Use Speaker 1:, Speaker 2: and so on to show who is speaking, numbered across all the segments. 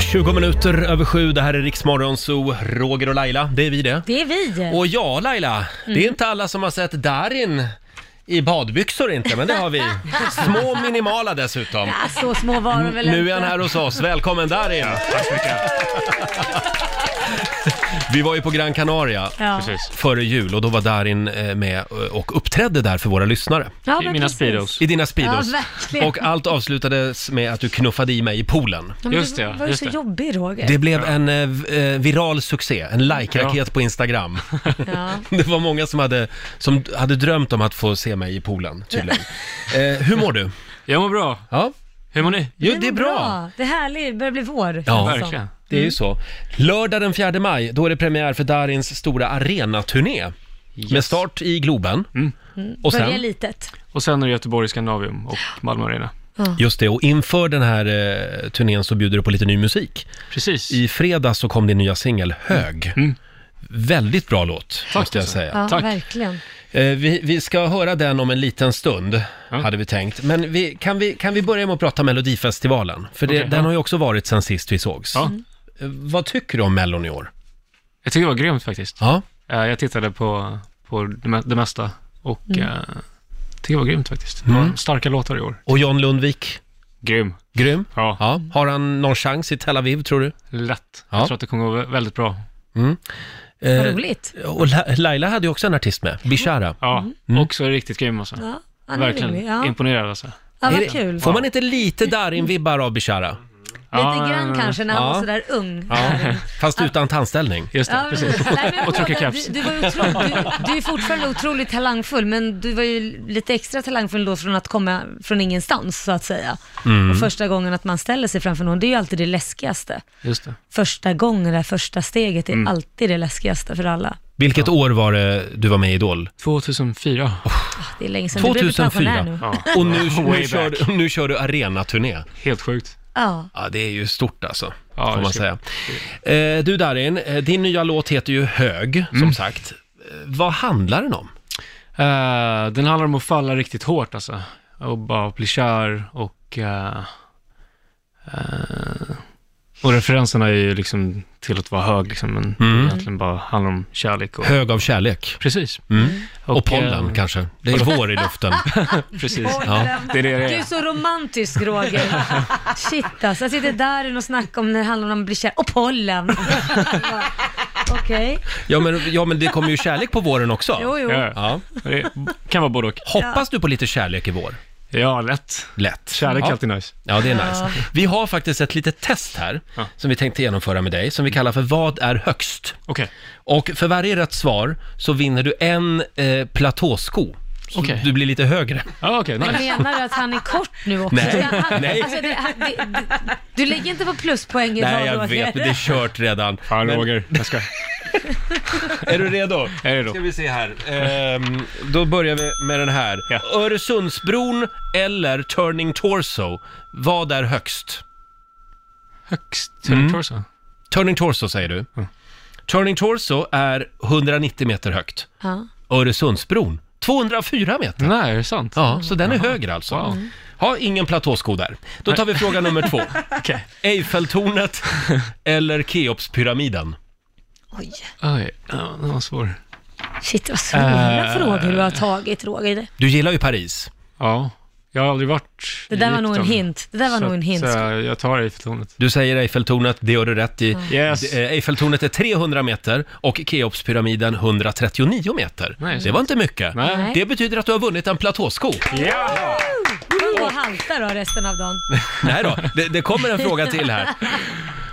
Speaker 1: 20 minuter över sju, det här är Riksmorgon Zoo, Roger och Laila, det är vi det.
Speaker 2: Det är vi.
Speaker 1: Och ja, Laila, det
Speaker 2: Mm.
Speaker 1: är inte alla som har sett Darin i badbyxor inte, men det har vi. Små minimala dessutom.
Speaker 2: Ja, så Alltså, små var de väl
Speaker 1: Nu är
Speaker 2: inte.
Speaker 1: han här hos oss. Välkommen Darin!
Speaker 3: Tack så mycket.
Speaker 1: Vi var ju på Gran Canaria
Speaker 2: Ja.
Speaker 3: Precis.
Speaker 1: före jul och då var Darin eh, med och uppträdde där för våra lyssnare.
Speaker 2: Ja,
Speaker 3: I
Speaker 2: men
Speaker 3: mina
Speaker 2: precis.
Speaker 3: Speedos.
Speaker 1: I dina Speedos.
Speaker 2: Ja, verkligen.
Speaker 1: och allt avslutades med att du knuffade i mig i poolen.
Speaker 2: Ja, men
Speaker 3: Just det,
Speaker 2: Du var ju
Speaker 3: just
Speaker 2: så
Speaker 3: det.
Speaker 2: jobbig Roger.
Speaker 1: Det blev en eh, v- eh, viral succé, en like-raket på Instagram.
Speaker 2: Ja.
Speaker 1: Det var många som hade, som hade drömt om att få se mig i poolen, tydligen. Eh, hur mår du?
Speaker 3: Jag mår bra.
Speaker 1: Ja,
Speaker 3: Hur mår ni?
Speaker 1: jo,
Speaker 2: mår
Speaker 1: det är bra.
Speaker 2: Det är härligt, det börjar bli vår. Alltså,
Speaker 1: Ja.
Speaker 3: Verkligen.
Speaker 1: Det är ju så. Lördag den 4 maj, då är det premiär för Darins stora arenaturné. Med start i Globen. Och
Speaker 2: Börja
Speaker 1: sen,
Speaker 2: litet.
Speaker 3: Och sen är det Göteborg, Skandinavium och Malmö Arena.
Speaker 1: just det, och inför den här eh, turnén så bjuder du på lite ny musik.
Speaker 3: Precis.
Speaker 1: I fredags så kom din nya singel Hög.
Speaker 3: Mm.
Speaker 1: Väldigt bra låt, måste jag
Speaker 3: alltså.
Speaker 1: säga.
Speaker 2: Ja,
Speaker 3: Tack.
Speaker 2: verkligen.
Speaker 1: Eh, vi, vi ska höra den om en liten stund,
Speaker 3: Ja.
Speaker 1: hade vi tänkt. Men vi, kan, vi, kan vi börja med att prata Melodifestivalen? För det,
Speaker 3: Okej,
Speaker 1: den
Speaker 3: ja.
Speaker 1: har ju också varit sen sist vi sågs.
Speaker 3: Ja.
Speaker 1: Eh, Vad tycker du om Mellon i år?
Speaker 3: Jag tycker det var grymt faktiskt.
Speaker 1: Ja,
Speaker 3: Eh, Jag tittade på, på det me- det mesta och eh, tycker det var grymt faktiskt. Det var starka låtar i år.
Speaker 1: och John Lundvik,
Speaker 3: Grym.
Speaker 1: grym.
Speaker 3: Ja,
Speaker 1: Ja. Har han någon chans i Tel Aviv, tror du?
Speaker 3: lätt.
Speaker 1: Ja.
Speaker 3: Jag tror att det kommer gå vä- väldigt bra.
Speaker 2: Vad
Speaker 1: Eh,
Speaker 2: roligt.
Speaker 1: och La- Laila hade ju också en artist med, Bishara.
Speaker 3: Ja, också riktigt grym alltså.
Speaker 2: Ja, han är
Speaker 3: Verkligen
Speaker 2: rolig. Ja.
Speaker 3: imponerad alltså.
Speaker 2: Ja,
Speaker 1: Är
Speaker 2: vad
Speaker 1: det-
Speaker 2: kul.
Speaker 1: Får man inte lite Darin-vibbar av Bishara?
Speaker 2: Lite grann kanske när han
Speaker 1: Ja.
Speaker 2: var sådär ung.
Speaker 1: Fast utan tandställning.
Speaker 3: Just det,
Speaker 2: Ja,
Speaker 3: precis.
Speaker 2: men- nej, men
Speaker 3: Och tråkiga
Speaker 2: Roger,
Speaker 3: caps.
Speaker 2: Du, du, var ju otro, du, du är fortfarande otroligt talangfull, men du var ju lite extra talangfull då från att komma från ingenstans, så att säga.
Speaker 1: Mm.
Speaker 2: Och första gången att man ställer sig framför någon, det är ju alltid det läskigaste.
Speaker 3: Just det.
Speaker 2: Första gången, det här första steget, är
Speaker 1: Mm.
Speaker 2: alltid det läskigaste för alla.
Speaker 1: Vilket år var det du var med i Idol?
Speaker 3: 2004.
Speaker 2: Det är länge sedan. Du börjar bli pensionär
Speaker 1: 2004.
Speaker 2: nu.
Speaker 3: Ja.
Speaker 1: Och nu,
Speaker 3: Way
Speaker 1: nu, kör,
Speaker 3: back.
Speaker 1: du- nu kör du arenaturné.
Speaker 3: Helt sjukt.
Speaker 2: Ja.
Speaker 1: Ja, det är ju stort alltså,
Speaker 3: Ja,
Speaker 1: får
Speaker 3: det
Speaker 1: man
Speaker 3: ska-
Speaker 1: säga. Eh, du Darin, eh, din nya låt heter ju Hög,
Speaker 3: Mm.
Speaker 1: som sagt. Eh, Vad handlar den om?
Speaker 3: Eh, den handlar om att falla riktigt hårt alltså. Och bara bli kär och... eh, eh, och referenserna är ju liksom till att vara hög liksom, men
Speaker 1: Mm.
Speaker 3: egentligen bara handlar om kärlek och...
Speaker 1: Hög av kärlek.
Speaker 3: Precis.
Speaker 1: Mm. Och, pollen
Speaker 3: eh,
Speaker 1: kanske. Det är vår i luften.
Speaker 3: Precis.
Speaker 1: Ja.
Speaker 3: Det
Speaker 2: Du
Speaker 3: är det det
Speaker 2: är
Speaker 3: är.
Speaker 2: så romantisk Roger. Shit alltså, jag sitter där och snackar om när det handlar om att bli kär. Och pollen! Okej,
Speaker 1: Ja men, ja, men det kommer ju kärlek på våren också.
Speaker 2: jo jo.
Speaker 3: Ja,
Speaker 1: Ja.
Speaker 3: det kan vara både och.
Speaker 1: Hoppas du på lite kärlek i vår?
Speaker 3: Ja, lätt.
Speaker 1: Lätt.
Speaker 3: Kärlek är
Speaker 1: ja.
Speaker 3: alltid nice.
Speaker 1: Ja, det är nice. Vi har faktiskt ett litet test här
Speaker 3: Ja.
Speaker 1: som vi tänkte genomföra med dig, som vi kallar för Vad är högst?
Speaker 3: Okej.
Speaker 1: Och för varje rätt svar så vinner du en eh, platåsko. Så
Speaker 3: Okej.
Speaker 1: du blir lite högre.
Speaker 3: Ja, okej. nice.
Speaker 2: Menar du att han är kort nu också?
Speaker 1: Nej,
Speaker 2: han,
Speaker 1: nej.
Speaker 2: Alltså, det, han, det, det, du lägger inte på pluspoäng idag
Speaker 1: Nej, jag
Speaker 2: Roger.
Speaker 1: vet, det är kört redan.
Speaker 3: Fan,
Speaker 1: Men-
Speaker 3: Roger. Jag ska.
Speaker 1: Är du redo?
Speaker 3: Jag är redo.
Speaker 1: Ska vi se här. Ehm, då börjar vi med den här.
Speaker 3: Ja.
Speaker 1: Öresundsbron eller Turning Torso? Vad är högst?
Speaker 3: Högst. Mm.
Speaker 1: Turning Torso säger du. Turning Torso är 190 meter högt.
Speaker 2: Ja.
Speaker 1: Öresundsbron 204 meter.
Speaker 3: Nej, är det sant?
Speaker 1: Ja, så den är högre alltså.
Speaker 3: Mm. Wow.
Speaker 1: Ha ingen platåsko där. Då tar vi fråga nummer två.
Speaker 3: Okej.
Speaker 1: Eiffeltornet eller Keopspyramiden?
Speaker 2: Oj,
Speaker 3: Oj, ja, den var svår.
Speaker 2: shit vad svåra
Speaker 1: Eh,
Speaker 2: frågor du har tagit Roger.
Speaker 1: Du gillar ju Paris.
Speaker 3: Ja, jag har aldrig varit
Speaker 2: Det där
Speaker 3: i
Speaker 2: var nog en
Speaker 3: Egypten.
Speaker 2: hint. Det där var
Speaker 3: Så
Speaker 2: nog en
Speaker 3: att,
Speaker 2: hint.
Speaker 3: eh, jag tar Eiffeltornet.
Speaker 1: Du säger Eiffeltornet, det gör du rätt i.
Speaker 3: Yes.
Speaker 1: Eh, Eiffeltornet är 300 meter och Keopspyramiden 139 meter.
Speaker 3: Nice.
Speaker 1: Det var inte mycket.
Speaker 3: Nej.
Speaker 1: Det betyder att du har vunnit en platåsko.
Speaker 3: Ja!
Speaker 2: Gå och halta då resten av dagen.
Speaker 1: Nej då, det, det kommer en fråga till här.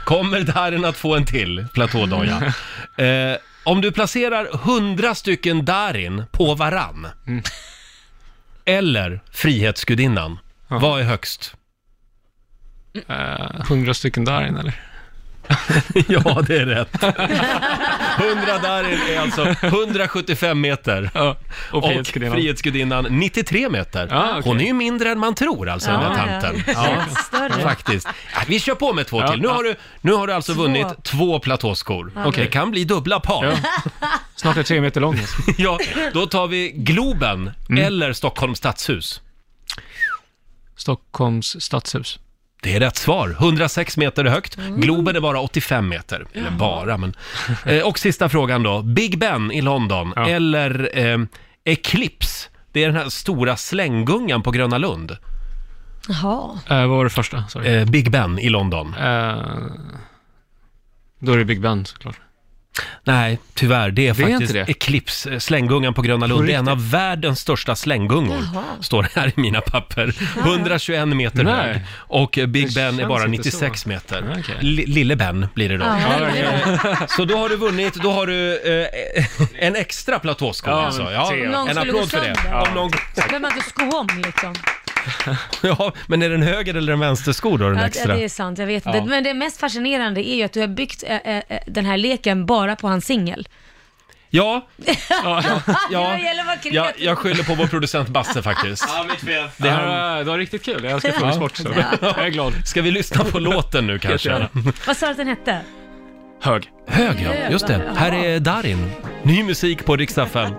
Speaker 1: Kommer Darin att få en till platådoja? Eh, om du placerar 100 stycken Darin på varann, eller Frihetsgudinnan, vad är högst?
Speaker 3: Hundra stycken där inne eller?
Speaker 1: Ja, det är rätt. 100 Darin är alltså 175 meter.
Speaker 3: Ja, och
Speaker 1: Och
Speaker 3: Frihetsgudinnan.
Speaker 1: Frihetsgudinnan 93 meter.
Speaker 3: Ja, okej. Ah,
Speaker 1: Hon är ju mindre än man tror alltså, den
Speaker 2: Ja,
Speaker 1: där tanten.
Speaker 2: ja.
Speaker 1: Ja.
Speaker 2: Lite Större.
Speaker 1: Faktiskt. Ja, Vi kör på med två
Speaker 3: Ja,
Speaker 1: till. Nu
Speaker 3: ja.
Speaker 1: har du, nu har du alltså
Speaker 2: Två.
Speaker 1: vunnit två platåskor.
Speaker 3: Okej.
Speaker 1: Det kan bli dubbla par. Ja.
Speaker 3: Ja. Snart är jag tre meter lång. Alltså.
Speaker 1: då tar vi Globen
Speaker 3: Mm.
Speaker 1: eller Stockholms stadshus.
Speaker 3: Stockholms stadshus.
Speaker 1: Det är rätt svar. 106 meter högt. Globen är bara 85 meter. Eller bara, men... Eh, och sista frågan då. Big Ben i London
Speaker 3: Ja.
Speaker 1: eller eh, Eclipse? Det är den här stora slänggungan på Gröna Lund.
Speaker 2: Jaha.
Speaker 3: Eh, vad var det första? Sorry.
Speaker 1: Eh, Big Ben i London.
Speaker 3: Eh, då är det Big Ben såklart.
Speaker 1: Nej, tyvärr. Det är
Speaker 3: Det är
Speaker 1: faktiskt
Speaker 3: inte det.
Speaker 1: Eclipse, eh, slänggungan på Gröna Lund. Det är en av världens största slänggungor,
Speaker 2: Jaha.
Speaker 1: står det här i mina papper. 121 meter
Speaker 3: Nej.
Speaker 1: hög och eh, Big
Speaker 3: Det
Speaker 1: Ben är
Speaker 3: känns
Speaker 1: bara
Speaker 3: inte
Speaker 1: 96
Speaker 3: så.
Speaker 1: meter.
Speaker 3: Ja, okej.
Speaker 1: Li- Lille Ben blir det då.
Speaker 2: Ja,
Speaker 3: Ja, okej.
Speaker 1: Så då har du vunnit, då har du eh, en extra platåskål
Speaker 3: Ja,
Speaker 1: alltså.
Speaker 3: men
Speaker 1: Ja,
Speaker 3: tre. Om
Speaker 2: någon
Speaker 1: en
Speaker 2: skulle
Speaker 1: applåd
Speaker 2: gå
Speaker 1: för det.
Speaker 2: sönder.
Speaker 1: Om någon...
Speaker 2: Behöver man inte sko om liksom?
Speaker 1: ja, men är den höger eller en vänstersko då den
Speaker 2: Ja,
Speaker 1: extra?
Speaker 2: det är sant, jag vet inte.
Speaker 1: Ja.
Speaker 2: Men det mest fascinerande är ju att du har byggt eh, eh, eh, den här leken bara på hans singel.
Speaker 1: Ja,
Speaker 2: Det
Speaker 1: ja.
Speaker 2: gäller att vara kreativ.
Speaker 1: Jag, jag skyller på vår producent Basse faktiskt.
Speaker 4: Ja, mitt fel.
Speaker 3: Det här var, Eh, det var riktigt kul. Jag älskar frågesport. Så. Jag är glad.
Speaker 1: Ska vi lyssna på låten nu kanske?
Speaker 3: Jättegärna.
Speaker 2: Vad sa du att den hette?
Speaker 3: Hög.
Speaker 1: Hög ja, just det. Här är Darin. Ny musik på Rix FM.